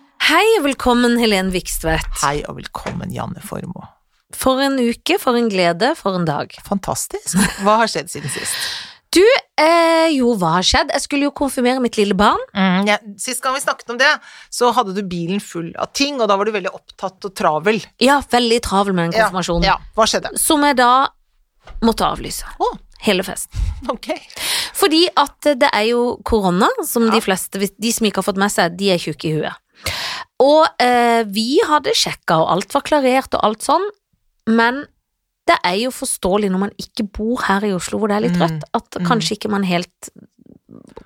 og velkommen, Helen Vikstvedt. Hei og velkommen, Janne Formoe. For en uke, for en glede, for en dag. Fantastisk. Hva har skjedd siden sist? Du, eh, jo, hva har skjedd? Jeg skulle jo konfirmere mitt lille barn. Mm, ja, sist gang vi snakket om det, så hadde du bilen full av ting, og da var du veldig opptatt og travel. Ja, veldig travel med den konfirmasjonen. Ja, hva skjedde? Som jeg da måtte avlyse. Å, Hele festen. ok. Fordi at det er jo korona, som de fleste, hvis- de som ikke har fått med seg, de er tjukke i huet. Og eh, vi hadde sjekka, og alt var klarert og alt sånn, men det er jo forståelig når man ikke bor her i Oslo hvor det er litt Mm, rødt, at mm. kanskje ikke man helt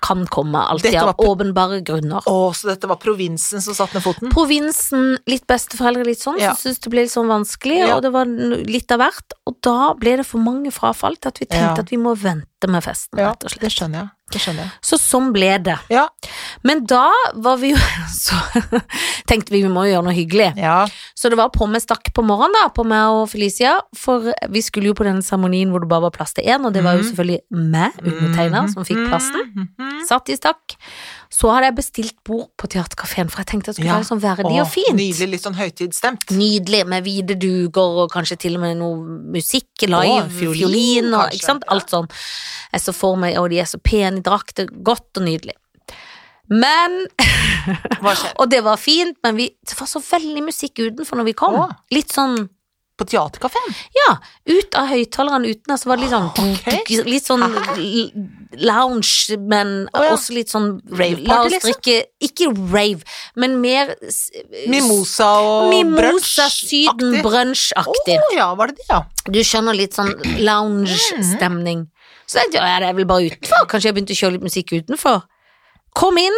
kan komme alltid Dette var av på- åpenbare grunner. Å, så dette var provinsen som satt ned foten? provinsen, litt besteforeldre, litt sånn, Ja. som syntes det ble litt sånn vanskelig, Ja. og det var n- litt av hvert. Og da ble det for mange frafall til at vi tenkte Ja. at vi må vente med festen, Ja, rett og det slett. skjønner jeg. Det skjønner jeg. Så sånn ble det. Ja. Men da var vi jo Så tenkte vi vi må jo gjøre noe hyggelig. Ja. Så det var på med stakk på morgenen, da, på meg og Felicia, for vi skulle jo på den seremonien hvor det bare var plass til én, og det var jo Mhm. selvfølgelig meg, undertegner, som Mm. fikk plassen. Mhm. Satt i stakk. Så hadde jeg bestilt bord på teaterkafeen, for jeg tenkte det skulle Ja. være litt sånn verdig Å, og fint. Nydelig, litt sånn høytidsstemt. Nydelig med hvite duker og kanskje til og med noe musikk, live, Å, fiolin, fiolin, og, kanskje. ikke sant? Alt sånn. Jeg så for meg, og de er så pene i drakter, godt og nydelig. Men, Hva skjedde? og det var fint, men vi, det var så veldig musikk utenfor når vi kom. Å. Litt sånn, På teaterkafeen? ja, ut av høyttaleren uten, så var det litt sånn, Ok. litt sånn lounge, men Å, ja. også litt sånn, Rave-party, la oss liksom? drikke, ikke rave, men mer s- Mimosa og Mimosa brunch-aktig. Syden brunch-aktig. Å ja, var det det, ja. Du skjønner litt sånn lounge-stemning. Så jeg ja, det er vel bare utenfor. Kanskje jeg begynte å kjøre litt musikk utenfor. Kom inn.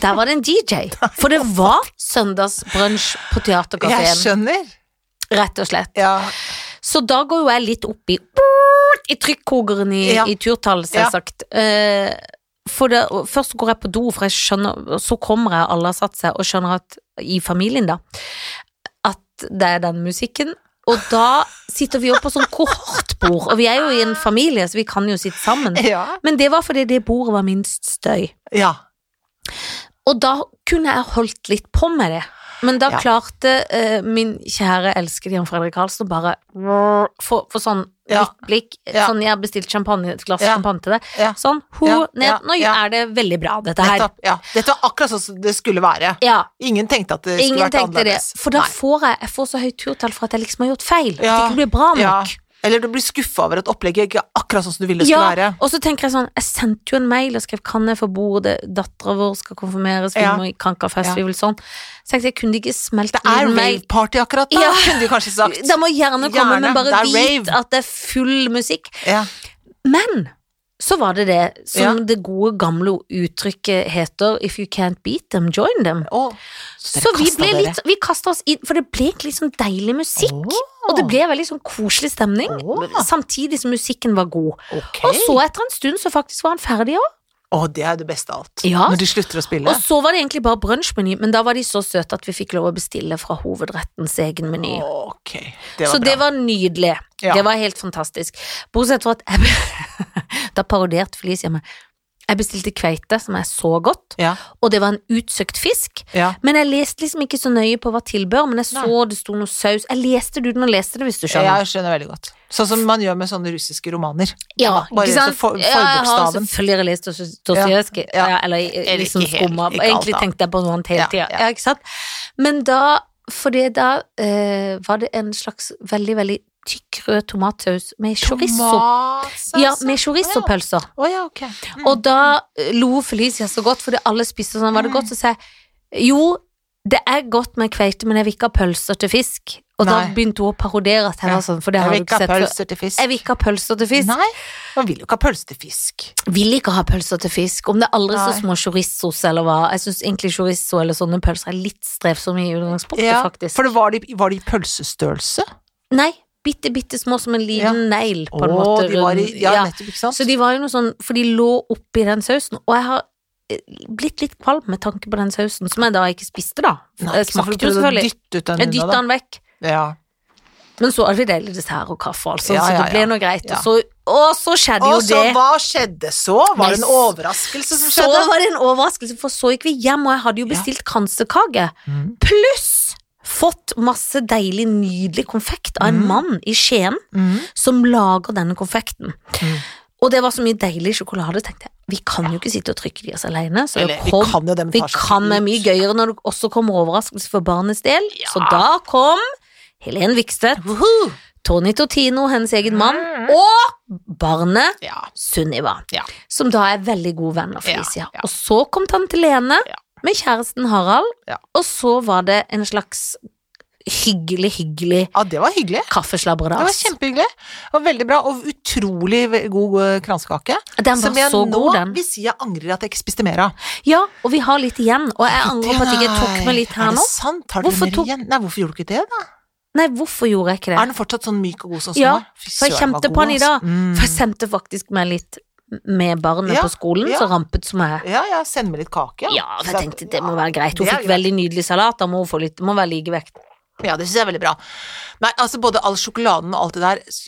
Der var det en DJ. For det var søndagsbrunsj på Jeg teaterkafeen. skjønner. Rett og slett. Ja, Så da går jo jeg litt opp i I trykkokeren i, Ja. i turtall, selvsagt. Eh, for det, og først går jeg på do, for jeg skjønner og Så kommer jeg, alle har satt seg, og skjønner at i familien, da, at det er den musikken. Og da sitter vi jo på sånn kohortbord, og vi er jo i en familie, så vi kan jo sitte sammen. ja. Men det var fordi det bordet var minst støy. ja. Og da kunne jeg holdt litt på med det. Men da Ja. klarte eh, min kjære elskede Jan Fredrik Karlsen å bare få, få sånn Ja. litt blikk. Ja. Sånn, jeg har bestilt champagne, et glass Ja. champagne til deg. Ja. Sånn, ho, Ja. ned. Ja. Nå Ja. er det veldig bra, dette her. Nettopp, ja. Dette var akkurat sånn som det skulle være. Ja, Ingen tenkte at det skulle ingen vært tenkte det. annerledes. For da Nei. får jeg, jeg får så høyt turtall for at jeg liksom har gjort feil. At det Ja. ikke blir bra Ja. nok. Eller du blir skuffa over at opplegget ikke er akkurat sånn som du ville det Ja, skulle være. og så tenker jeg sånn, jeg sendte jo en mail og skrev Kan jeg få bordet, dattera vår skal konfirmeres, vi Ja. må i Kankerfest, Ja. vi vil sånn. Så tenkte jeg, kunne de ikke smelte Det er inn mail? rave-party akkurat da, Ja. kunne du kanskje sagt. De må gjerne komme, Gjerne, men bare det er vit rave. at det er full musikk. Ja. Men så var det det som Ja. det gode gamle uttrykket heter If you can't beat them, join them. Å, Så, dere vi kastet ble dere. litt, vi kasta oss inn, for det ble litt sånn deilig musikk. Å. Og det ble veldig sånn koselig stemning, Å. samtidig som musikken var god. Ok. Og så etter en stund så faktisk var han ferdig òg. Å, det er det beste av alt. Ja. Når de slutter å spille. Og så var det egentlig bare brunsjmeny, men da var de så søte at vi fikk lov å bestille fra hovedrettens egen meny. Ok, det var så bra. det var nydelig. Ja. Det var helt fantastisk. Bortsett fra at jeg be- Da parodierte Felicia meg. Jeg bestilte kveite, som jeg så godt, Ja, og det var en utsøkt fisk. ja. Men jeg leste liksom ikke så nøye på hva tilbør, men jeg så Nei. det sto noe saus. Jeg leste det uten å lese det, hvis du skjønner. Jeg skjønner veldig godt. Sånn som man gjør med sånne russiske romaner. Ja, Bare ikke sant? så for- Ja, jeg har forbokstaven. selvfølgelig lest Dostojevskij, Ja, ja, ja. eller eh, Eller liksom ikke helt, skumma. ikke alt, Egentlig da. tenkte jeg på noe annet hele Ja, tida. ja. Ja, ikke sant? Men da, for det da eh, var det en slags veldig, veldig tykk rød tomatsaus med chorizo Tomatsaus. Ja, med chorizo-pølser. Å ja, ok. Mm. Og da eh, lo Felicia så godt, fordi alle spiste sånn. Mm. Var det godt? Så sa jeg jo, det er godt med kveite, men jeg vil ikke ha pølser til fisk. Og da Nei. begynte hun å parodiere at jeg Ja. var sånn, for det jeg har vil du ikke ikke ha sett før. pølser til fisk. Jeg vil ikke ha pølser til fisk. Nei, man vil jo ikke ha pølse til fisk. Vil ikke ha pølser til fisk. Om det er aldri så Nei. små chorizos eller hva. Jeg syns egentlig chorizo eller sånne pølser er litt strevsomme i utgangspunktet, faktisk. For det var, de, var de i pølsestørrelse? Nei, bitte, bitte små som en liten Ja. negl, på en Å, måte. de var i, rund. ja, Ja. nettopp, ikke sant? Så de var jo noe sånn, for de lå oppi den sausen, og jeg har eh, blitt litt kvalm med tanke på den sausen, som jeg da ikke spiste, da. Nei, jeg ikke sant, for smakte du jo prøvde å selvfølgelig. Dytte ut den Jeg dytta unna, den vekk. da. Ja. Men så hadde vi deilig dessert og kaffe, og alt sånt, Ja, så ja, det ble ja. nå greit. Ja. Og så, og så skjedde Og jo så det. hva skjedde så? Var det en Nei, s- overraskelse som Så skjedde? var det en overraskelse, for så gikk vi hjem, og jeg hadde jo bestilt kransekake. Mm. Pluss fått masse deilig, nydelig konfekt av en Mm. mann i Skien Mm. som lager denne konfekten. Mm. Og det var så mye deilig sjokolade, tenkte jeg. Vi kan jo ikke sitte og trykke de oss alene. Så det Eller, vi kom, kan jo det, men vi tar seg kan ikke være ut. mye gøyere når det også kommer overraskelse for barnets del. Så Ja. da kom Helen Vikstvedt, Woohoo! Tony Totino, hennes egen mann, Mm. og barnet Ja. Sunniva, Ja. som da er veldig god venn av Felicia. Ja, ja. Og så kom tante Lene Ja. med kjæresten Harald, Ja. og så var det en slags hyggelig, hyggelig ja, det var hyggelig. Det var kaffeslabberas. kjempehyggelig. Og veldig bra, og utrolig ve- god eh, kransekake. Den var Som jeg så nå god, den. vil si jeg angrer at jeg ikke spiste mer av. Ja, og vi har litt igjen, og jeg angrer på at jeg ikke tok meg litt her nå. Er det sant? Har du Hvorfor mer tok- igjen? Nei, hvorfor gjorde du ikke det, da? Nei, hvorfor gjorde jeg ikke Er det? den fortsatt sånn myk og god sånn som Ja, den var? Fy for jeg søren, den var kjente på god, den i dag. altså. Mm. For jeg sendte faktisk meg litt med barnet Ja, på skolen, ja. så rampet som jeg. Ja, ja, send meg litt kake. Ja, for jeg tenkte det må være greit. Hun det er fikk greit. veldig nydelig salat, da må hun få litt, må være likevekt. Ja, det syns jeg er veldig bra. Nei, altså både all sjokoladen og alt det der s-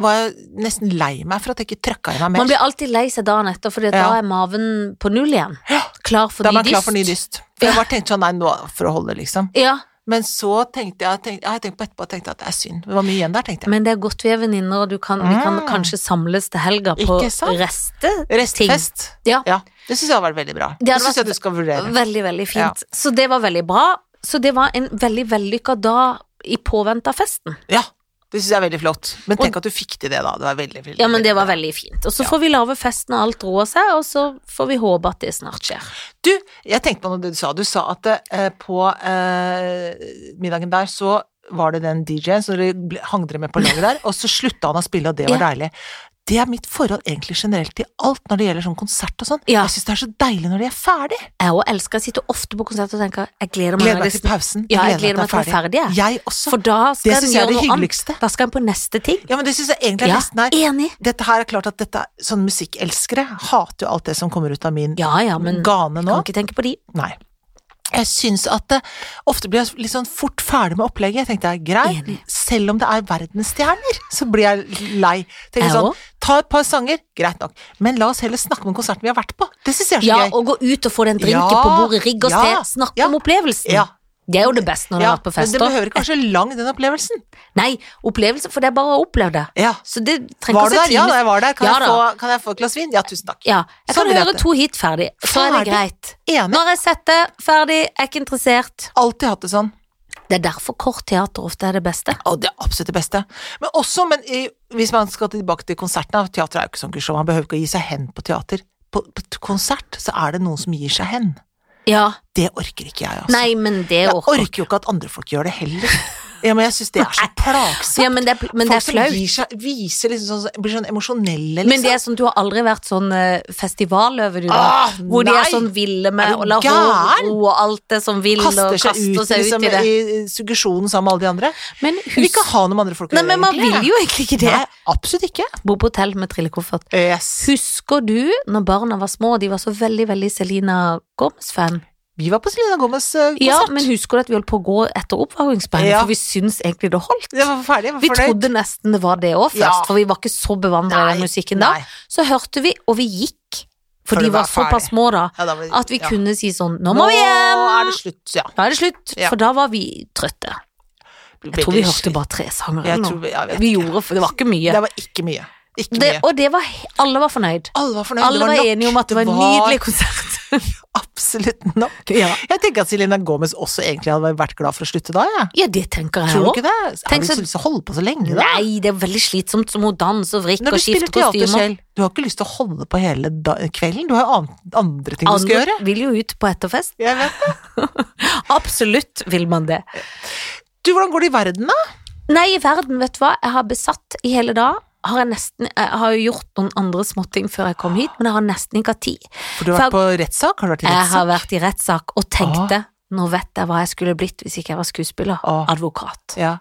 var jeg nesten lei meg for at jeg ikke trøkka i meg Man mer. blir alltid lei seg dagen etter, for da Ja. er maven på null igjen. Klar for Da ny var jeg klar for ny dyst. dyst. For jeg bare tenkte sånn, nei, nå for å holde, liksom. Ja, Men så tenkte jeg, tenkte, jeg tenkte på etterpå tenkte jeg at det er synd. Det var mye igjen der, tenkte jeg. men det er godt vi er venninner, og du kan, vi kan Mm. kanskje samles til helga på Ikke sant? rester. Restfest. Mm, Ja. det syns jeg har vært veldig bra. Det Det hadde syns vært jeg du skal vurdere. Veldig, veldig fint. Så det var veldig bra. Så det var en veldig vellykka dag i påvente av festen. Ja, det syns jeg er veldig flott. Men tenk at du fikk til det, da. Det var veldig, veldig Ja, men det var bra. veldig fint. Og så får vi lage fest når alt roer seg, og så får vi håpe at det snart skjer. Du, jeg tenkte på noe du sa. Du sa at eh, på eh, middagen der så var det den DJ-en, så dere ble- hang dere med på laget der, og så slutta han å spille, og det var deilig. Det er mitt forhold egentlig generelt til alt når det gjelder sånn konsert og sånn. Ja. Jeg syns det er så deilig når de er ferdig. Jeg òg elsker Jeg sitter ofte på konsert og tenker jeg gleder meg, Gleder når meg det- til pausen. Ja, jeg gleder meg til å være ferdig. jeg. Jeg også. For da Det skal en syns jeg er gjøre det noe annet. hyggeligste. Da skal en på neste ting. Ja, men det syns jeg egentlig er Ja, nesten her. enig. Dette her er klart at dette, sånn musikkelskere hater jo alt det som kommer ut av min Ja, ja, men gane nå. kan ikke tenke på de. Nei. Jeg syns at det, ofte blir jeg litt sånn fort ferdig med opplegget. Jeg tenkte det er greit, Enig. selv om det er verdensstjerner, så blir jeg lei. Tenker Jeg sånn, også. ta et par sanger, greit nok, men la oss heller snakke om den konserten vi har vært på. Det syns jeg er så Ja, gøy. og gå ut og få den drinken Ja, på bordet, rigg oss ja, til, snakk ja, om opplevelsen. ja. Det er jo det beste når du Ja, har vært på men det fester. behøver ikke være så lang, den opplevelsen. Nei, opplevelse, for det er bare å oppleve det. Ja. Så det trenger Var du ikke å der? se Ja, da, times- jeg var der. Kan, Ja, jeg da. få, kan jeg få et glass vin? Ja, tusen takk. Ja, jeg Sånn kan vil jeg høre det. to hit ferdig, så er det Ferdig. greit. Enig. Når jeg setter ferdig, er ikke interessert. Alltid hatt det sånn. Det er derfor kort teater ofte er det beste. Og det er absolutt det beste. Men også, men i, hvis man skal tilbake til konsertene Teater er jo ikke sånn kursjon, man behøver ikke å gi seg hen på teater. På, på t- konsert så er det noen som gir seg hen. Ja, Det orker ikke jeg, altså. nei, men det jeg orker. orker jo ikke at andre folk gjør det heller. Ja, men jeg syns det er så plagsomt. Ja, men det, er- men det folk er flaut. som gir seg, viser liksom sånn, blir sånn emosjonelle, liksom. Men det er sånn, du har aldri vært sånn eh, festivalløve, du da. Ah, hvor de nei. er sånn ville med Er du å la gæren? håret ro og alt det som vil, Kaster og seg kaster ut, seg ut liksom, i det. i, i suggesjonen sammen med alle de andre. Men Jeg vil husk ikke ha noe med andre folk å Nei, gjøre, men man egentlig. vil jo egentlig ikke det. Nei, absolutt ikke. Bo på hotell med trillekoffert. Yes. Husker du når barna var små, og de var så veldig, veldig Selena Gomez-fan? Vi var på Selena Gomez eh, konsert. Ja, men husker du at vi holdt på å gå etter oppvarmingsband, Ja. for vi syns egentlig det holdt? Det var ferdig, jeg var Vi fornøyd. trodde nesten det var det òg først, Ja. for vi var ikke så bevandra i den Nei, musikken da. nei. Så hørte vi, og vi gikk, for For de det var var såpass ferdig. små da, Ja, da ble- at vi ja. kunne si sånn 'nå må vi hjem', Nå er det slutt, ja. da er det slutt, Ja. for da var vi trøtte. Jeg tror vi hørte bare tre sanger Jeg eller tror noe. vi- jeg vet Vi ikke. gjorde, for det var ikke mye. Det var ikke mye. Ikke Det, mye. og det var, alle var fornøyd. Alle var fornøyd. Alle det var, nok. enige om at det var en nydelig konsert. Absolutt nok. ja. Jeg tenker at Selena Gomez også egentlig hadde vært glad for å slutte da, jeg. ja, det tenker jeg Tror du òg. ikke det? Tenk Har du så- ikke lyst til å holde på så lenge, da? Nei, det er veldig slitsomt som hun danser og vrikker Når og du spiller skifter teater kostymer. selv, du har ikke lyst til å holde på hele da kvelden. Du har jo an- andre ting du skal Andre gjøre. vil jo ut på etterfest. Jeg vet det. Absolutt vil man det. Du, hvordan går det i verden, da? Nei, i verden, vet du hva. Jeg har besatt i hele dag. Har jeg, nesten, jeg har jo gjort noen andre småting før jeg kom hit, men jeg har nesten ikke hatt tid. For du har For- vært på rettssak? Har du vært i Jeg har rettssak? Ah. vært i rettssak og tenkte nå vet jeg hva jeg skulle blitt hvis ikke jeg var skuespiller. Åh. Advokat. Ja.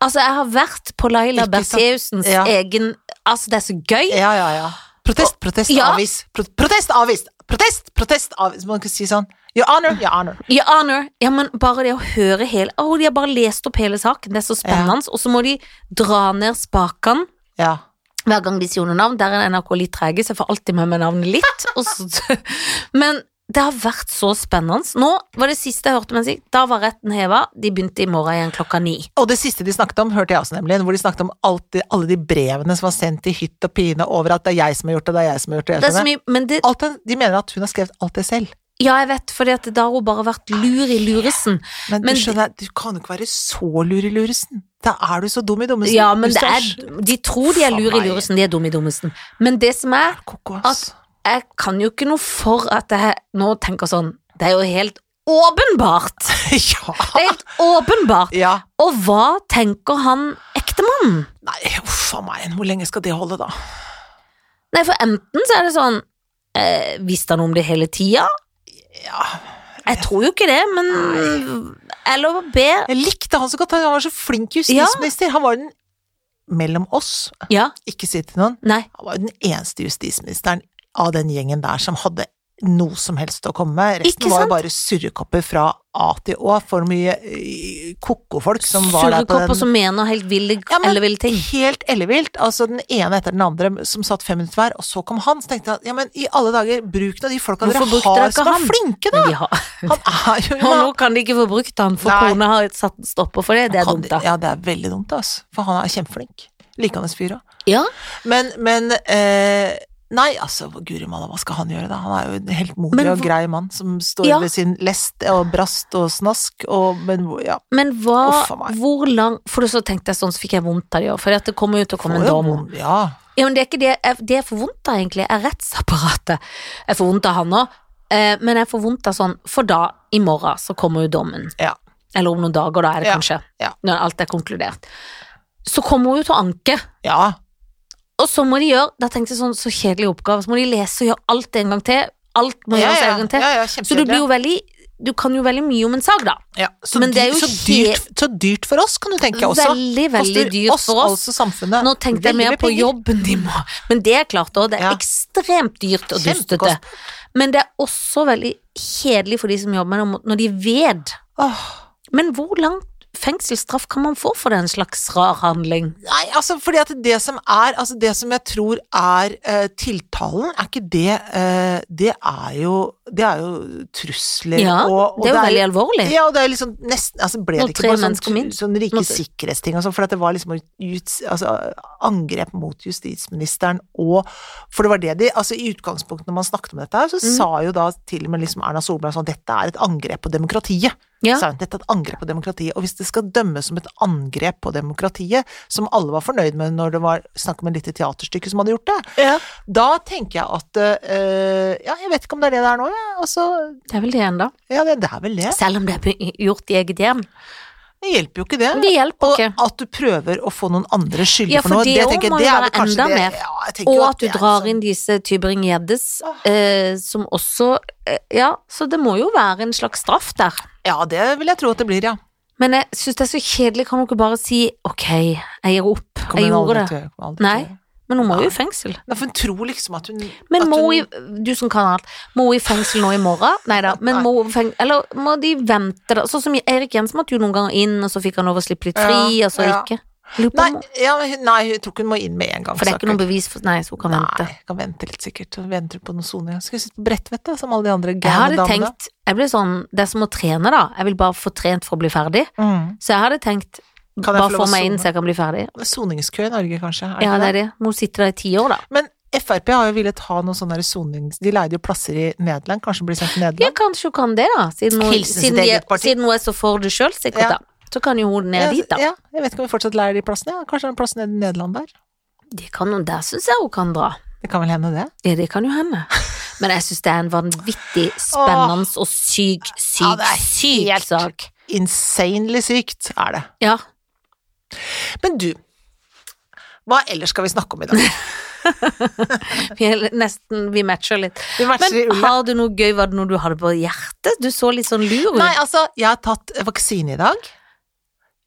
Altså, jeg har vært på Laila Ikke sant? Bertheussens Ja. egen Altså, det er så gøy. Ja, ja, ja. Protest, protest, ja. avvis. Pro protest, avvis. Protest, protest, avvis. Man kan si sånn Your honor, your honor. Your honor. Ja, men bare det å høre hele Å, de har bare lest opp hele saken, det er så spennende. Og så må de dra ned spakene Ja. hver gang de sier noe navn. Der er NRK litt trege, så jeg får alltid med meg navnet litt. Og så, men det har vært så spennende. Nå var det siste jeg hørte meg si, da var retten heva. De begynte i morgen igjen klokka ni. Og det siste de snakket om, hørte jeg også nemlig, hvor de snakket om alt de, alle de brevene som var sendt i hytt og pine over at det er jeg som har gjort det, det er jeg som har gjort Det det. Jeg er så som har- mye, men det, Alt det, de mener at hun har skrevet alt det selv. ja, jeg vet, fordi at da har hun bare vært lur i luresen. Men, Men de- du skjønner, du kan jo ikke være så lur i luresen. Da er du så dum i dummesen. Ja, men Du det er, størst. de tror de er lur i luresen, de er dumme i dummesen. Men det som er, Koko, at ass. jeg kan jo ikke noe for at jeg nå tenker sånn Det er jo helt åpenbart! Det ja. er helt åpenbart! ja. Og hva tenker han ektemannen? Nei, uff a meg, hvor lenge skal det holde, da? Nei, for enten så er det sånn eh, Visste han om det hele tida? Ja. Jeg tror jo ikke det, men Eller B. Jeg likte han så godt, han var så flink justisminister. Han var den mellom oss, Ja. ikke si det til noen, Nei. han var jo den eneste justisministeren av den gjengen der som hadde noe som helst å komme med. Resten Ikke var sant? jo bare surrekopper fra A til Å, for mye eh, koko-folk som var der på Surrekopper den som mener helt ville Ja, men- eller ville ting. Helt ellevilt. Altså den ene etter den andre som satt fem minutter hver, og så kom han. Så tenkte jeg at ja, men i alle dager, bruk nå de folka dere Hvorfor brukte har dere ikke som er han? flinke, da! Men de har, Han er jo og nå kan de ikke få brukt han, for Nei. kona har satt en stopper for det. Det er Han- dumt, da. Ja, det er veldig dumt, altså. For han er kjempeflink. Likandes fyr òg. Ja. Men, men eh, Nei, altså, guri malla, hva skal han gjøre, da? Han er jo en helt modig Men og hva- grei mann som står Ja. ved sin lest og brast og snask og Men hvor- ja. Men hva, Uff a meg. hvor lang For så tenkte jeg sånn, så fikk jeg vondt av det òg. For det kommer jo til å komme en får jo dom. vondt, Ja. Ja, men det er ikke det jeg, det jeg får vondt av, egentlig, er rettsapparatet. Jeg får vondt av han òg, eh, men jeg får vondt av sånn For da, i morgen, så kommer jo dommen. Ja. Eller om noen dager, da er det Ja, kanskje. ja. Når alt er konkludert. Så kommer hun jo til å anke, Ja. og så må de gjøre Da tenkte jeg sånn, så kjedelig oppgave, så må de lese og gjøre alt en gang til. Alt må ja, gjøres ja, en gang ja, til. ja, Så du kjempekjedelig. blir jo veldig Du kan jo veldig mye om en sak, da. Ja, så, Men det er dyrt- jo så, dyrt, så dyrt for oss, kan du tenke også. Veldig, veldig Koster dyrt for oss. altså samfunnet. Nå tenkte jeg veldig mer mye på penger. jobben de må Men det er klart også, det er Ja. ekstremt dyrt og dustete. Kjempekost. Men det er også veldig kjedelig for de som jobber med det, når de ved. Åh, Men hvor lang fengselsstraff kan man få for den slags rar handling? Nei, altså fordi at det som er Altså det som jeg tror er eh, tiltalen, er ikke det eh, Det er jo Det er jo trusler Ja, og, og det er jo veldig jo- alvorlig. Ja, og det er jo liksom nesten altså Ble Når det tre ikke bare mennesker sånn, minst. sånn rike Når tre- sikkerhetsting og sånn, for at det var liksom ut, altså, angrep mot justisministeren og For det var det de Altså i utgangspunktet når man snakket om dette her, så Mm. sa jo da til og med liksom Erna Solberg sånn Dette er et angrep på demokratiet. Ja. Sa hun, dette er et angrep på demokratiet. Og hvis det skal dømmes som et angrep på demokratiet, som alle var fornøyd med når det var snakk om et lite teaterstykke som hadde gjort det, da tenker jeg at eh, Ja, jeg vet ikke om det er det det er nå, jeg. Altså, Det er vel det enda. ja, det, det er vel det. Selv om det er by- gjort i eget hjem. Det hjelper jo ikke det. Det hjelper Og ikke. at du prøver å få noen andre skyldige Ja, for for noe, det det også tenker må jeg det jo er være vel kanskje enda det. mer. Ja, jeg tenker Og jo at du det er drar liksom- inn disse Tybring-Gjeddes, eh, som også eh, Ja, så det må jo være en slags straff der. Ja, det vil jeg tro at det blir, ja. Men jeg syns det er så kjedelig, kan hun ikke bare si ok, jeg gir opp, Kommer jeg hun aldri gjorde det. til å gjøre, kommer aldri til å Nei, gjøre. men hun må jo i fengsel. Nei, for hun tror liksom at hun Men at må hun- hun, i- du som kan alt, må hun i fengsel nå i morgen? Nei da, men må hun feng, eller må de vente, da? Sånn som Erik Jensen måtte jo noen ganger inn, og så fikk han lov å slippe litt fri, Ja, og så ja. ikke. Lurer på Nei, om hun- ja, hun- nei, jeg tror ikke hun må inn med en gang. For det er ikke stakkars. noe bevis for Nei, så hun kan vente. Nei, kan vente litt sikkert. Hun Venter på noen sone. ja. Skal vi sitte på Bredtvet, da, som alle de andre Jeg gærne hadde damene? tenkt Jeg ble sånn Det er som å trene, da. Jeg vil bare få trent for å bli ferdig. Mm. Så jeg hadde tenkt Kan jeg få Bare lov å få meg inn sone? så jeg kan bli ferdig. Det er Soningskø i Norge, kanskje? Er det Ja, ikke det er det? det. Må hun sitte der i ti år, da. Men Frp har jo villet ha noen sånne der sonings... De leide jo plasser i Nederland, kanskje hun blir sendt til Ja, Nederland? kanskje hun kan det, da. Siden hun, Hilsen sitt siden de, eget parti. siden hun er så for det sjøl, sikkert, Ja. da. Så kan jo hun ned Ja, dit, da. ja, jeg vet ikke om vi fortsatt leier de plassene. Ja, kanskje det er en plass nede i Nederland der? Det kan hun, der syns jeg hun kan dra. Det kan vel hende, det. Ja, det kan jo hende. Men jeg syns det er en vanvittig spennende og syk, Ja, syk, det er syk helt- sak. Insanely sykt er det. Ja. Men du, hva ellers skal vi snakke om i dag? Vi, er nesten, vi matcher litt. Vi matcher i Men ulla. har du noe gøy? Var det noe du hadde på hjertet? Du så litt sånn lur ut. Nei, altså, jeg har tatt vaksine i dag.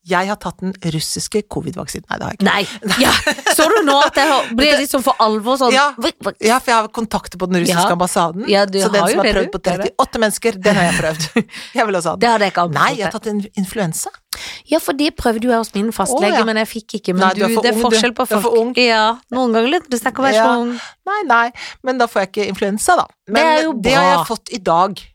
Jeg har tatt den russiske covid-vaksinen. Nei, det har jeg ikke. Nei! Ja. Så du nå at jeg har- ble liksom for alvor sånn Ja. Vik, vik. Ja, for jeg har kontakter på den russiske Ja. ambassaden. Ja, du så den har jo som har det, prøvd du. på 38 mennesker, den har jeg prøvd. Jeg vil også ha den. Det hadde jeg ikke Nei, jeg har anbefalt. tatt en influensa. deg. Ja, for det prøvde jo jeg hos min fastlege, Å, ja. men jeg fikk ikke. Men Nei, du, du er for det er ung, du. forskjell på Du er folk. for ung. Ja, noen ganger litt. Det snakker å være Ja. så ung. Nei, nei, men da får jeg ikke influensa, da. Men Det er jo det har bra. jeg fått i dag.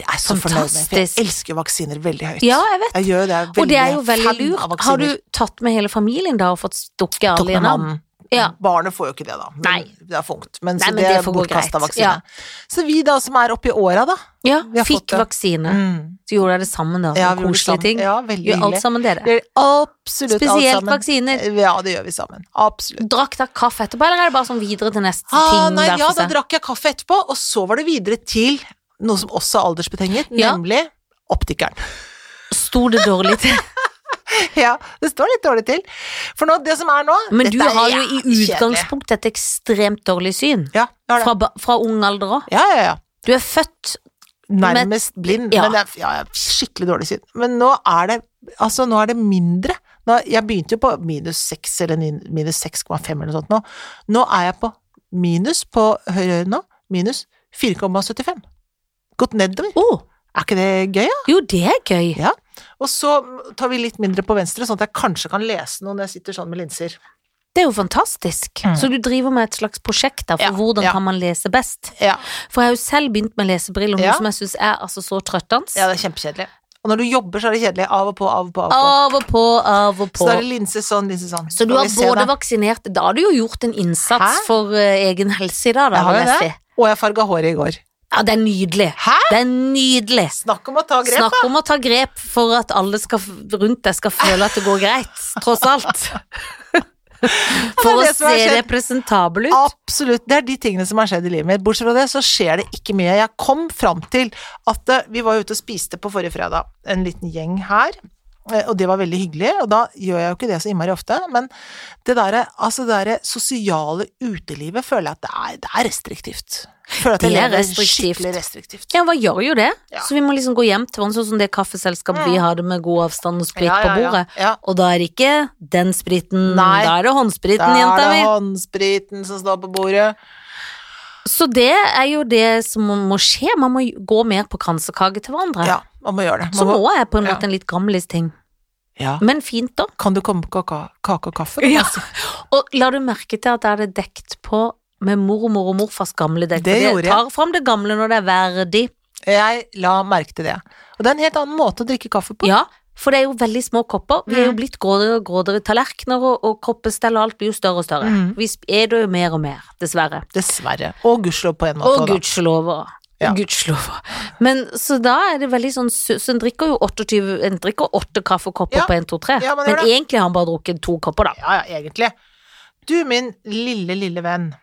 Det er jeg så fornøyd med, for jeg Fantastisk. elsker vaksiner veldig høyt. Ja, jeg vet. Jeg gjør det. Jeg er veldig, Og det er jo veldig fan av lurt. vaksiner. Har du tatt med hele familien da og fått stukket Tok alle med gjennom? mannen. Ja. Barnet får jo ikke det, da. Men Nei. Det er for ungt. Men, Nei, så men det, det er får gå bortkasta greit. vaksine. Ja. Så vi da som er oppi åra, da. Ja, Vi har fått fikk det. vaksine. Mm. Så gjorde jeg det sammen, da. Ja, Sånne vi gjorde det koselige sammen. ting. Ja, veldig Gjør alt hyggelig. sammen, dere. Det er absolutt alt Spesielt sammen. vaksiner. Eh, Ja, det gjør vi sammen. Absolutt. Drakk dere kaffe etterpå, eller er det bare sånn videre til neste Ah, ting? nei, hver ja, for da seg? drakk jeg kaffe etterpå, og så var det videre til noe som også er aldersbetinget, Ja. nemlig optikeren. Sto det dårlig til? Ja, det står litt dårlig til. For nå, det som er nå Men dette du er har jo i jævlig kjedelig. utgangspunktet et ekstremt dårlig syn. Ja, jeg har det. Fra, ba- fra ung alder òg. Ja, ja, ja. Du er født Nærmest blind. ja. Men jeg, ja, jeg har skikkelig dårlig syn. Men nå er det altså nå er det mindre. Nå, jeg begynte jo på minus 6 eller ni- minus 6,5 eller noe sånt nå. Nå er jeg på minus på høyre øre nå. Minus 4,75. Gått nedover. Å! Er ikke det gøy, da? jo, det er gøy. Ja. Og så tar vi litt mindre på venstre, sånn at jeg kanskje kan lese noe når jeg sitter sånn med linser. Det er jo fantastisk. Mm. Så du driver med et slags prosjekt der, for Ja, hvordan ja. kan man lese best? Ja, For jeg har jo selv begynt med lesebriller, noe Ja. som jeg syns er altså så trøttende. ja det er kjempekjedelig. Og når du jobber, så er det kjedelig. Av og på, av og på, av og på. Av og på, av og Så på. da er det linse sånn, linse sånn. Så du Skal har vi se, både da? vaksinert Da har du jo gjort en innsats Hæ? for eh, egen helse i dag, da. Jeg har vil jo jeg det. si. Og jeg farga håret i går. Ja, det er nydelig. Hæ? Det er nydelig. Snakk om å ta grep, Snakk om å ta grep for at alle skal, rundt deg skal føle at det går greit, tross alt. Ja, For det er å det som har se skjedd. representabel da! ut. Absolutt. Det er de tingene som har skjedd i livet mitt. Bortsett fra det, så skjer det ikke mye. Jeg kom fram til at eh, vi var ute og spiste på forrige fredag, en liten gjeng her. eh, Og det var veldig hyggelig, og da gjør jeg jo ikke det så innmari ofte, men det derre altså det derre sosiale utelivet føler jeg at det er, det er restriktivt. Føler at Det jeg er lever restriktivt. Skikkelig restriktivt. Ja, hva gjør jo det? Ja. Mm. Så vi må liksom gå hjem til hverandre, sånn som det kaffeselskapet vi hadde med god avstand og sprit Ja, ja, på ja. bordet. Ja. Og da er det ikke den spriten, Nei. da er det Da håndspriten, er jenta det mi. håndspriten som står på bordet. Så det er jo det som må- må skje, man må gå mer på kransekake til hverandre. Ja, man må gjøre det. Så Man nå er jeg på en ja. måte en litt gamlis ting. ja. Men fint, da. Kan du komme på kaka- kake og kaffe? Ja. Og la du merke til at jeg hadde dekt på med mormor og morfars gamle dekk? Det For gjorde jeg. Tar fram det gamle når det er verdig. Jeg la merke til det. Og det er en helt annen måte å drikke kaffe på. Ja, for det er jo veldig små kopper. Vi er jo Mm. blitt grådere og grådere. Tallerkener og, og koppestell og alt blir jo større og større. Mm. Vi er det jo mer og mer, dessverre. Dessverre. Og gudskjelov på en måte. Og da. gudskjelover. Ja. Gudskjelover. Men så da er det veldig sånn su- Så en drikker jo 28 En drikker åtte kaffekopper Ja. på 1, 2, 3. Ja, man men gjør det. egentlig har han bare drukket to kopper, da. Ja, ja, egentlig. Du, min lille, lille venn.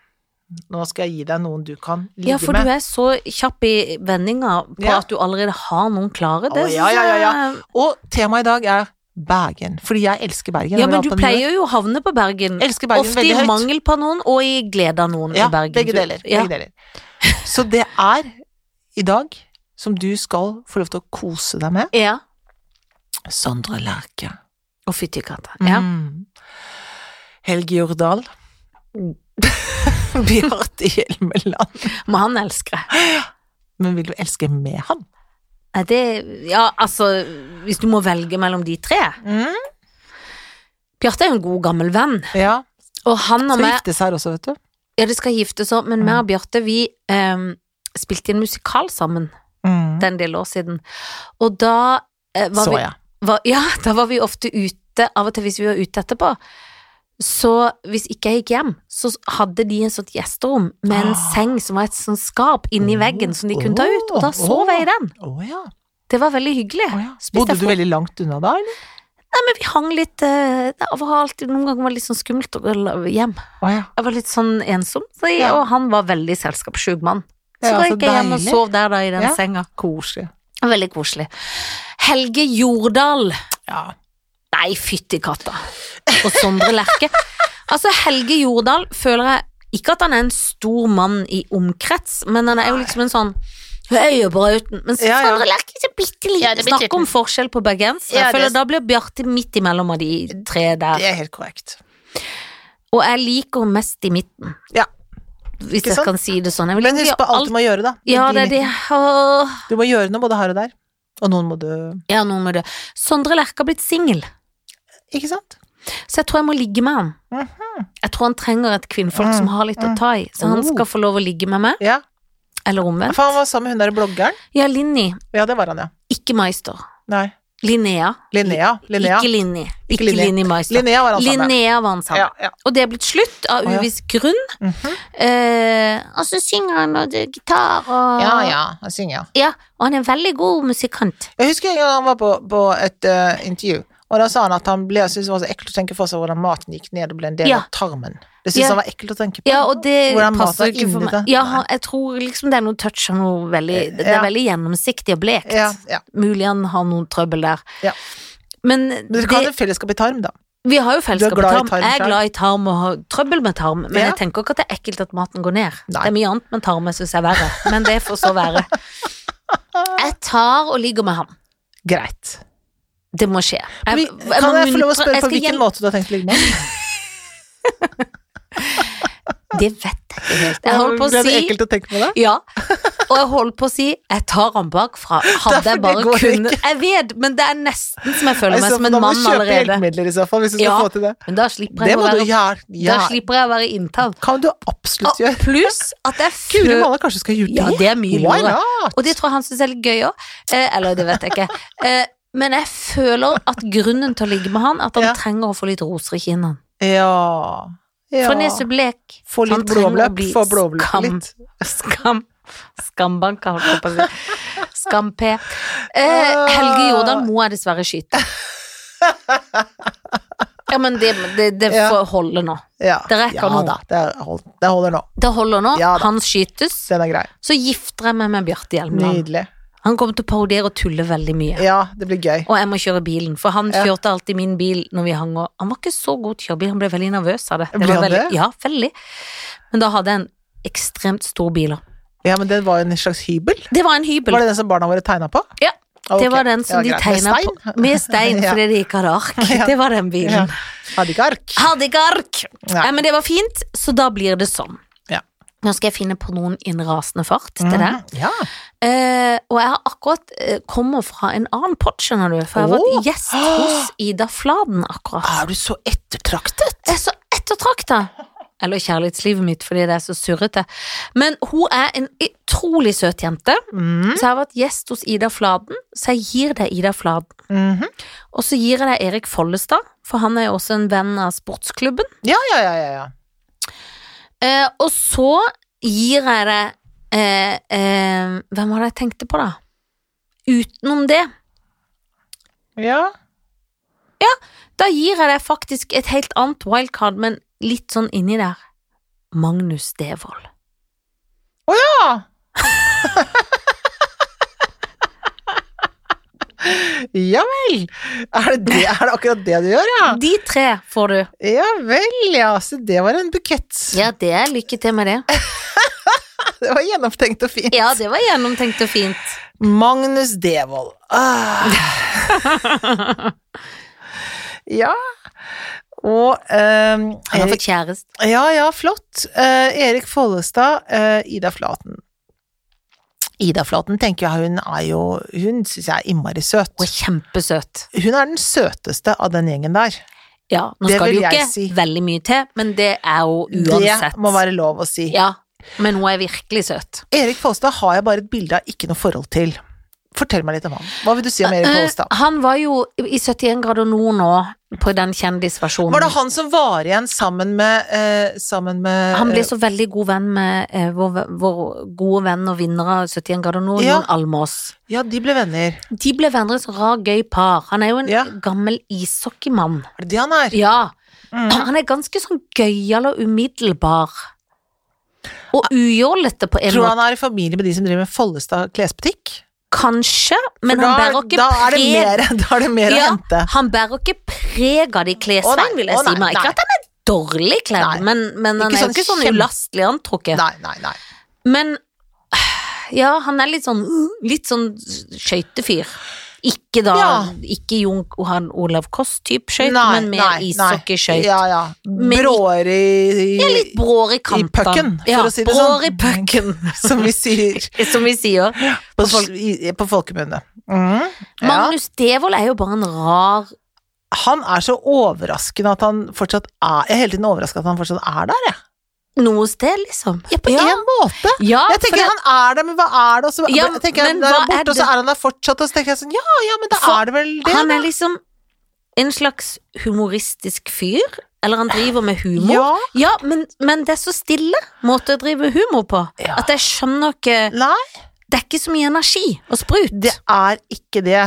Nå skal jeg gi deg noen du kan ligge Ja, for du med. er så kjapp i vendinga på Ja. at du allerede har noen klare. Det Å, ja, synes ja, ja, jeg- Og temaet i dag er Bergen. Fordi jeg elsker Bergen. Ja, Over men alt du på den pleier jo å havne på Bergen. jorden. elsker Bergen Ofte i veldig høyt. mangel på noen, og i glede av noen ja, i Bergen. Begge Du- deler. Ja. Begge deler. Så det er i dag som du skal få lov til å kose deg med. ja. Sondre Lerche. Og fytti katta. Ja. Mm. Helge Jordal. Mm. Bjarte Hjelmeland. Men han elsker jeg. Men vil du elske med han? Nei, Det, ja, altså, hvis du må velge mellom de tre Mm. Bjarte er jo en god, gammel venn, Ja. og han og Skal meg giftes her også, vet du. Ja, det skal giftes òg, men Mm. meg og Bjarte, vi eh, spilte en musikal sammen Mm. det er en del år siden, og da eh, var Så vi jeg. var, ja, da var vi ofte ute, av og til hvis vi var ute etterpå. Så hvis ikke jeg gikk hjem, så hadde de en sånt gjesterom med en Ah. seng som var et sånt skap inni Oh, veggen som de kunne ta ut, og da oh, sov jeg i den. Å ja. Det var veldig hyggelig. Å, ja. Spiste Bodde jeg du frokost. veldig langt unna da, eller? Nei, men vi hang litt eh, det var alltid, Noen ganger var det litt sånn skummelt å gå la- hjem. Å ja. Jeg var litt sånn ensom, så jeg, Ja. og han var veldig selskapssjuk mann. Så Ja, da så gikk jeg hjem og deilig. sov der da i den Ja. senga. Koselig. Veldig koselig. Helge Jordal. Ja. Nei, fytti katta. Og Sondre Lerche. Altså, Helge Jordal føler jeg ikke at han er en stor mann i omkrets, men han er jo liksom en sånn Jeg er bra uten Men så Ja, ja. forandrer Lerke seg bitte litt. Ja, det er bitte Snakk om forskjell på bergensere. Ja, Jeg føler det- Da blir Bjarte midt imellom av de tre der. Det er helt korrekt. Og jeg liker henne mest i midten, Ja. hvis Ikke jeg sant? kan si det sånn. Jeg vil Men ikke husk på gjøre alt du må gjøre, da. Ja, det er det. Åh. Du må gjøre noe både her og der. Og noen må dø. Ja, noen må dø. Sondre Lerche har blitt singel, Ikke sant? så jeg tror jeg må ligge med han. Jeg tror han trenger et kvinnfolk som har litt å ta i, så han Mhm. Oh. skal få lov å ligge med meg, Ja. eller omvendt. For han var sammen med hun der bloggeren. Ja, Linni, Ja, det var han, ja. ikke Meister. Nei. Linnea. Linnea. Linnea, Ikke Linni. Ikke, Linni. Linni Meister. Linnea var han sammen med. Linnea var han sammen. Ja, ja. Og det er blitt slutt av Å, ja. uviss grunn. Mhm. Eh, og så synger han og det er gitar og Ja, ja. Han synger, ja. Ja, og han er en veldig god musikant. Ah. Jeg husker en gang han var på, på et eh, intervju, og da sa han at han ble, syntes det var så ekkelt å tenke for seg hvordan maten gikk ned og ble en del Ja. av tarmen. Det Ja. syntes han var ekkelt å tenke på. Ja, og det Hvordan maten passer er ikke for inni meg. det. Ja, Nei. Eh, han- jeg tror liksom det er noe touch av noe veldig Det er Ja. veldig gjennomsiktig og blekt. ja, ja. Mulig han har noen trøbbel der. Ja. Men Men dere kan ha det, et fellesskap i tarm, da. vi har jo fellesskap Du er på glad i tarm. tarm Jeg er selv. glad i tarm og har trøbbel med tarm, men Ja. jeg tenker ikke at det er ekkelt at maten går ned. Nei. Det er mye annet med tarm jeg syns er verre, men det får så være. Jeg tar og ligger med ham. Greit. Det må skje. Vi, Jeg- jeg kan må jeg få lov å muntre- spørre jeg på skal hvilken hjelpe- måte du har tenkt å ligge med ham? Det vet jeg ikke helt. Jeg holdt på å Ble det si ekkelt å tenke på det? Ja, og jeg holdt på å si jeg tar han bakfra. Hadde Derfor jeg det bare går kunnet Jeg vet, men det er nesten som jeg føler I meg så som fall, en da må du mann kjøpe allerede. hjelpemidler i så fall, hvis du skal Ja. få til det. Men da slipper Det jeg å må du være, gjøre. da Ja. slipper jeg å være inntalt. Kan du absolutt Og gjøre. pluss at jeg Guri føler malla, kanskje du skal gjøre det? Ja, det er mye Why lurere. not? Og det tror jeg han syns er litt gøy òg. Eh, eller det vet jeg ikke. Eh, men jeg føler at grunnen til å ligge med han, at han Ja. trenger å få litt roser i kinnene. Ja. ja. For han er så blek. Få Han litt trenger å blåløp. bli Få blåløp skam. litt. Skam. Skambanka, holdt jeg på å si. Skam-P. Eh, Ah. Helge Jordan må jeg dessverre skyte. Ja, men det, det, det Ja. får holde nå. Ja. Det rekker ja, nå. Da. Det, er- hold- det holder nå. Det holder nå. Ja da. han skytes. Den er grei. Så gifter jeg meg med Bjarte Hjelmeland. Nydelig. Han kommer til å parodiere og tulle veldig mye. Ja, det blir gøy. Og jeg må kjøre bilen, for han Ja. kjørte alltid min bil når vi hang og Han var ikke så god til å kjøre bil, han ble veldig nervøs av det. Ble var han veldig, det? Ja, veldig. Men da hadde jeg en ekstremt stor bil. også. Ja, men den var jo en slags hybel. Det var en hybel. Var det den som barna våre tegna på? Ja, Ok. Det var den som Ja, de greit. tegna Med på med stein, Ja. fordi de ikke hadde ark. Ja. Det var den Ja. bilen. Hadde ikke ark. Hadde ikke ark! Nei. Nei, men det var fint, så da blir det sånn. Ja. Nå skal jeg finne på noen i en rasende fart til deg. Mhm. Ja. Eh, og jeg har akkurat eh, kommer fra en annen pod, skjønner du, for jeg har Åh. vært gjest hos Ida Fladen akkurat. Er du så ettertraktet? Jeg er så ettertrakta! Eller kjærlighetslivet mitt, fordi det er så surrete. Men hun er en utrolig søt jente, Mm. så jeg har vært gjest hos Ida Fladen, så jeg gir deg Ida Fladen. Mhm. Og så gir jeg deg Erik Follestad, for han er jo også en venn av sportsklubben. Ja, ja, ja, ja, ja. Eh, og så gir jeg deg eh, eh, Hvem var det jeg tenkte på, da? Utenom det, Ja, da gir jeg deg faktisk et helt annet wildcard, men litt sånn inni der. Magnus Devold. ja. ja vel. Er det, det, er det akkurat det du gjør, ja? De tre får du. Ja vel, ja. Så det var en bukett. Ja, det er lykke til med det. Det var gjennomtenkt og fint. Ja, det var gjennomtenkt og fint. Magnus Devold. Ah. ja. Og ehm, Han har Erik, fått kjæreste. Ja, ja, flott. Eh, Erik Follestad, eh, Ida Flaten. Ida Flaten tenker jeg hun er jo Hun syns jeg er innmari søt. Hun er kjempesøt. Hun er den søteste av den gjengen der. Ja, nå Det skal det vil jo jeg ikke si. veldig mye til, men det er hun uansett. Det må være lov å si. Ja, men hun er virkelig søt. Erik Follestad har jeg bare et bilde av ikke noe forhold til. Fortell meg litt om han. Hva vil du si om Erik Follestad? Eh, Han var jo i 71 grader nord nå, på den kjendisversjonen. Var det han som var igjen sammen med, eh, sammen med eh, Han ble så veldig god venn med eh, vår, ve- vår gode venn og vinner av 71 grader nord, Ja. Jon Almås. Ja, de ble venner. De ble venner i et rar, gøy par. Han er jo en Ja. gammel ishockeymann. Er det det han er? Ja. Mm. Han er ganske sånn gøyal og umiddelbar. Og ujålete på en Ah. Tror du måte. han er i familie med de som driver med Follestad klesbutikk? Kanskje, For men han da, bærer ikke da er det preg- mer, da er det mer å Ja, hente. Han bærer ikke preg av det i Å, klesveien, nei, vil jeg å, si nei, meg. Ikke nei. at han er dårlig kledd, Nei. men, men han Ikke er jo sånn ikke sånn kjempe- ulastelig antrukket. Nei, nei, nei. Men Ja, han er litt sånn Litt sånn skøytefyr. Ikke da Ja. Ikke Jon han Olav Koss-type skøyt, Nei, men mer nei, nei. ishockeyskøyt. Ja, ja. Men- Bråere i, Ja, litt bråere i kantene. pucken, for ja, å si det brår sånn. i pucken, som vi sier som vi sier. på, folk... i, på folkemunne. Mm. Ja. Magnus Devold er jo bare en rar Han er så overraskende at han fortsatt er Jeg er hele tiden overrasket at han fortsatt er der, jeg. noe sted, liksom. Ja, på På en- en måte. ja Jeg for tenker det- han er der, men hva er det? Og så Ja, jeg tenker jeg, men der er hva han er borte, og det? så er han der fortsatt, og så tenker jeg sånn Ja, ja, men da For er det vel det. han da. er liksom en slags humoristisk fyr. Eller han driver med humor. Ja, Ja. men, men det er så stille måte å drive humor på. Ja. At jeg skjønner ikke Nei, Det er ikke så mye energi og sprut. det er ikke det.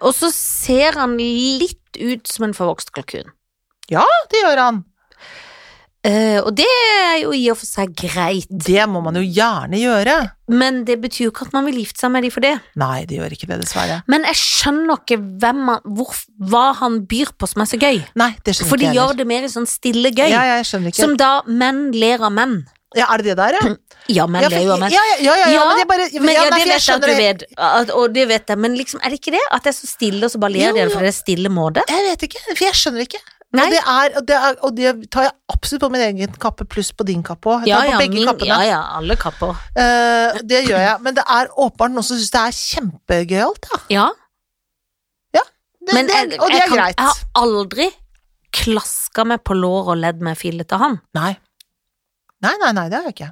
Og så ser han litt ut som en forvokst kalkun. Det gjør han. Eh, og det er jo i og for seg greit, Det må man jo gjerne gjøre. men det betyr jo ikke at man vil gifte seg med de for det. Nei, det gjør ikke det, dessverre. Men jeg skjønner ikke hvem han, hvor, hva han byr på som er så gøy. Nei, det skjønner For de ikke jeg gjør det mer i sånn stille gøy. Ja, ja, jeg skjønner ikke. Som da menn ler av menn. Ja, er det det der, ja? Ja, menn Ja, for- ler jo av menn. ja, ja, ja, ja, ja, Ja, men jeg bare Men ja, nei, det for jeg vet jeg at du skjønner det. vet, at, og det vet jeg, men liksom, er det ikke det? At det er så stille, og så bare Jo, ler dere jo. for det er stille måte? Jeg vet ikke, for jeg skjønner ikke. Nei. Og det, er, og, det er, og det tar jeg absolutt på min egen kappe, pluss på din kappe òg. Jeg Ja tar ja, på begge min, kappene. ja ja, alle kapper. Eh, det gjør jeg. Men det er åpenbart noen som syns det er kjempegøyalt, ja. Ja, Det, men det, jeg, og det jeg er kan- greit. Jeg har aldri klaska meg på låret og ledd meg fillete av han. Nei. Nei, nei, nei, det har jeg ikke.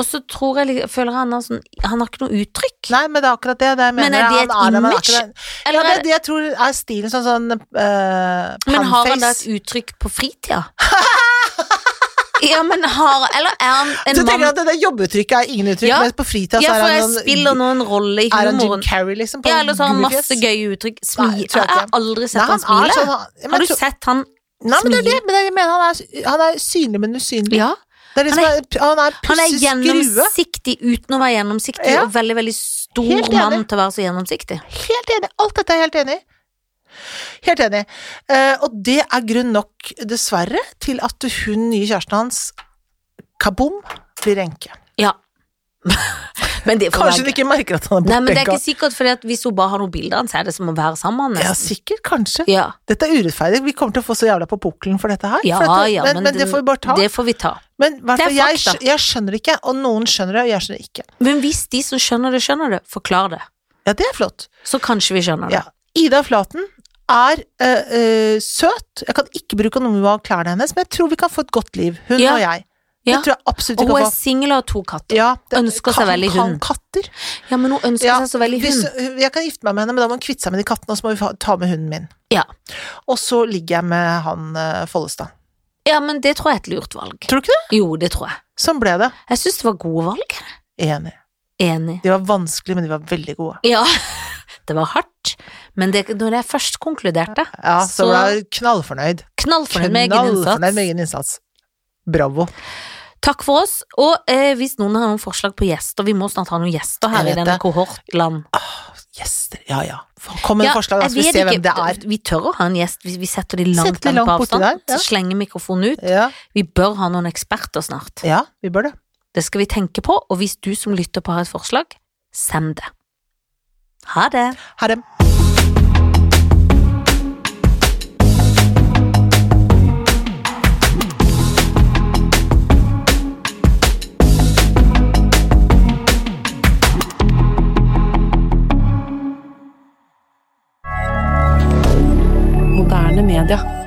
Og så tror jeg, li- føler jeg han har sånn Han har ikke noe uttrykk. Nei, men det er akkurat det. det jeg Men mener. er det et Han der, men image? akkurat det- Eller ja, det er er det jeg tror er stilen, sånn sånn eh, Men har han da et panface. uttrykk på fritida? Ja, men har Eller er han Du en tenker mann at det der jobbeuttrykket er ingen uttrykk, Ja. mens på fritida Ja, så er for han jeg noen- spiller nå en rolle i Er han Jim humoren. Carrey, liksom? På Ja, eller så har han gummifjes? masse gøye uttrykk. Nei, Smil. tror Jeg jeg ikke. har aldri sett Nei, han smile. er sånn, han- men Har jeg du tror- sett han Nei, men det er smile? det, men jeg mener han er, han er synlig, men usynlig. Ja. Det er Han liksom, han er, han er Han er pusset skrue. gjennomsiktig uten å være gjennomsiktig, Ja. og veldig, veldig stor Helt enig. mann til å være så gjennomsiktig. Helt enig. Alt dette er jeg helt enig i. Helt enig. Eh, og det er grunn nok, dessverre, til at hun nye kjæresten hans, kaboom, blir enke. Ja. men Altså, det får være Kanskje hun ikke merker at han er Nei, men det er bortenka. ikke sikkert, fordi at hvis hun bare har noen bilder av han, så er det som å være sammen med Ja, han. nesten. sikkert. Kanskje. Ja, Dette er urettferdig. Vi kommer til å få så jævla på pukkelen for dette her. ja, for dette, ja, men, men, det du- får vi bare ta. Det får vi ta. men i hvert Det er fall, jeg, fakta. skj- jeg skjønner ikke, og noen skjønner det, og jeg skjønner ikke. Men hvis de som skjønner det, skjønner det, forklar det. Ja, det er flott. Så kanskje vi skjønner det. Ja. Ida Flaten er eh, eh, søt. Jeg kan ikke bruke noe av klærne hennes, men jeg tror vi kan få et godt liv, hun Ja. og jeg. Det Ja. tror jeg absolutt vi Og hun kan er få. singel og har to katter. Ja, ønsker seg kan- veldig kan hund. katter. Ja, men hun ønsker Ja, seg så veldig Hvis, hund. jeg kan gifte meg med henne, men da må hun kvitte seg med de kattene, og så må vi fa- ta med hunden min. Ja. Og så ligger jeg med han eh, Follestad. Ja, men det tror jeg er et lurt valg. Tror du ikke det? Jo, det tror jeg. Sånn ble det. Jeg syns det var gode valg. Enig. Enig. De var vanskelige, men de var veldig gode. Ja, det var hardt, men det, når jeg først konkluderte, Ja, så, Så- ble jeg knallfornøyd. knallfornøyd med egen Knallfornøyd med innsats. egen innsats. Bravo. Takk for oss, og eh, hvis noen har noen forslag på gjester, vi må snart ha noen gjester her i Jeg vet denne det. kohortland. Gjester. Ja ja. Kom med Ja, forslag, da jeg skal vi vet se ikke, hvem det er. Vi tør å ha en gjest, vi, vi setter de langt, Setter de langt på langt borti avstand, der, ja. slenger mikrofonen ut. Ja, Vi bør ha noen eksperter snart. ja vi bør det. Det skal vi tenke på, og hvis du som lytter på har et forslag, send det. Ha det! Ha det. Moderne media.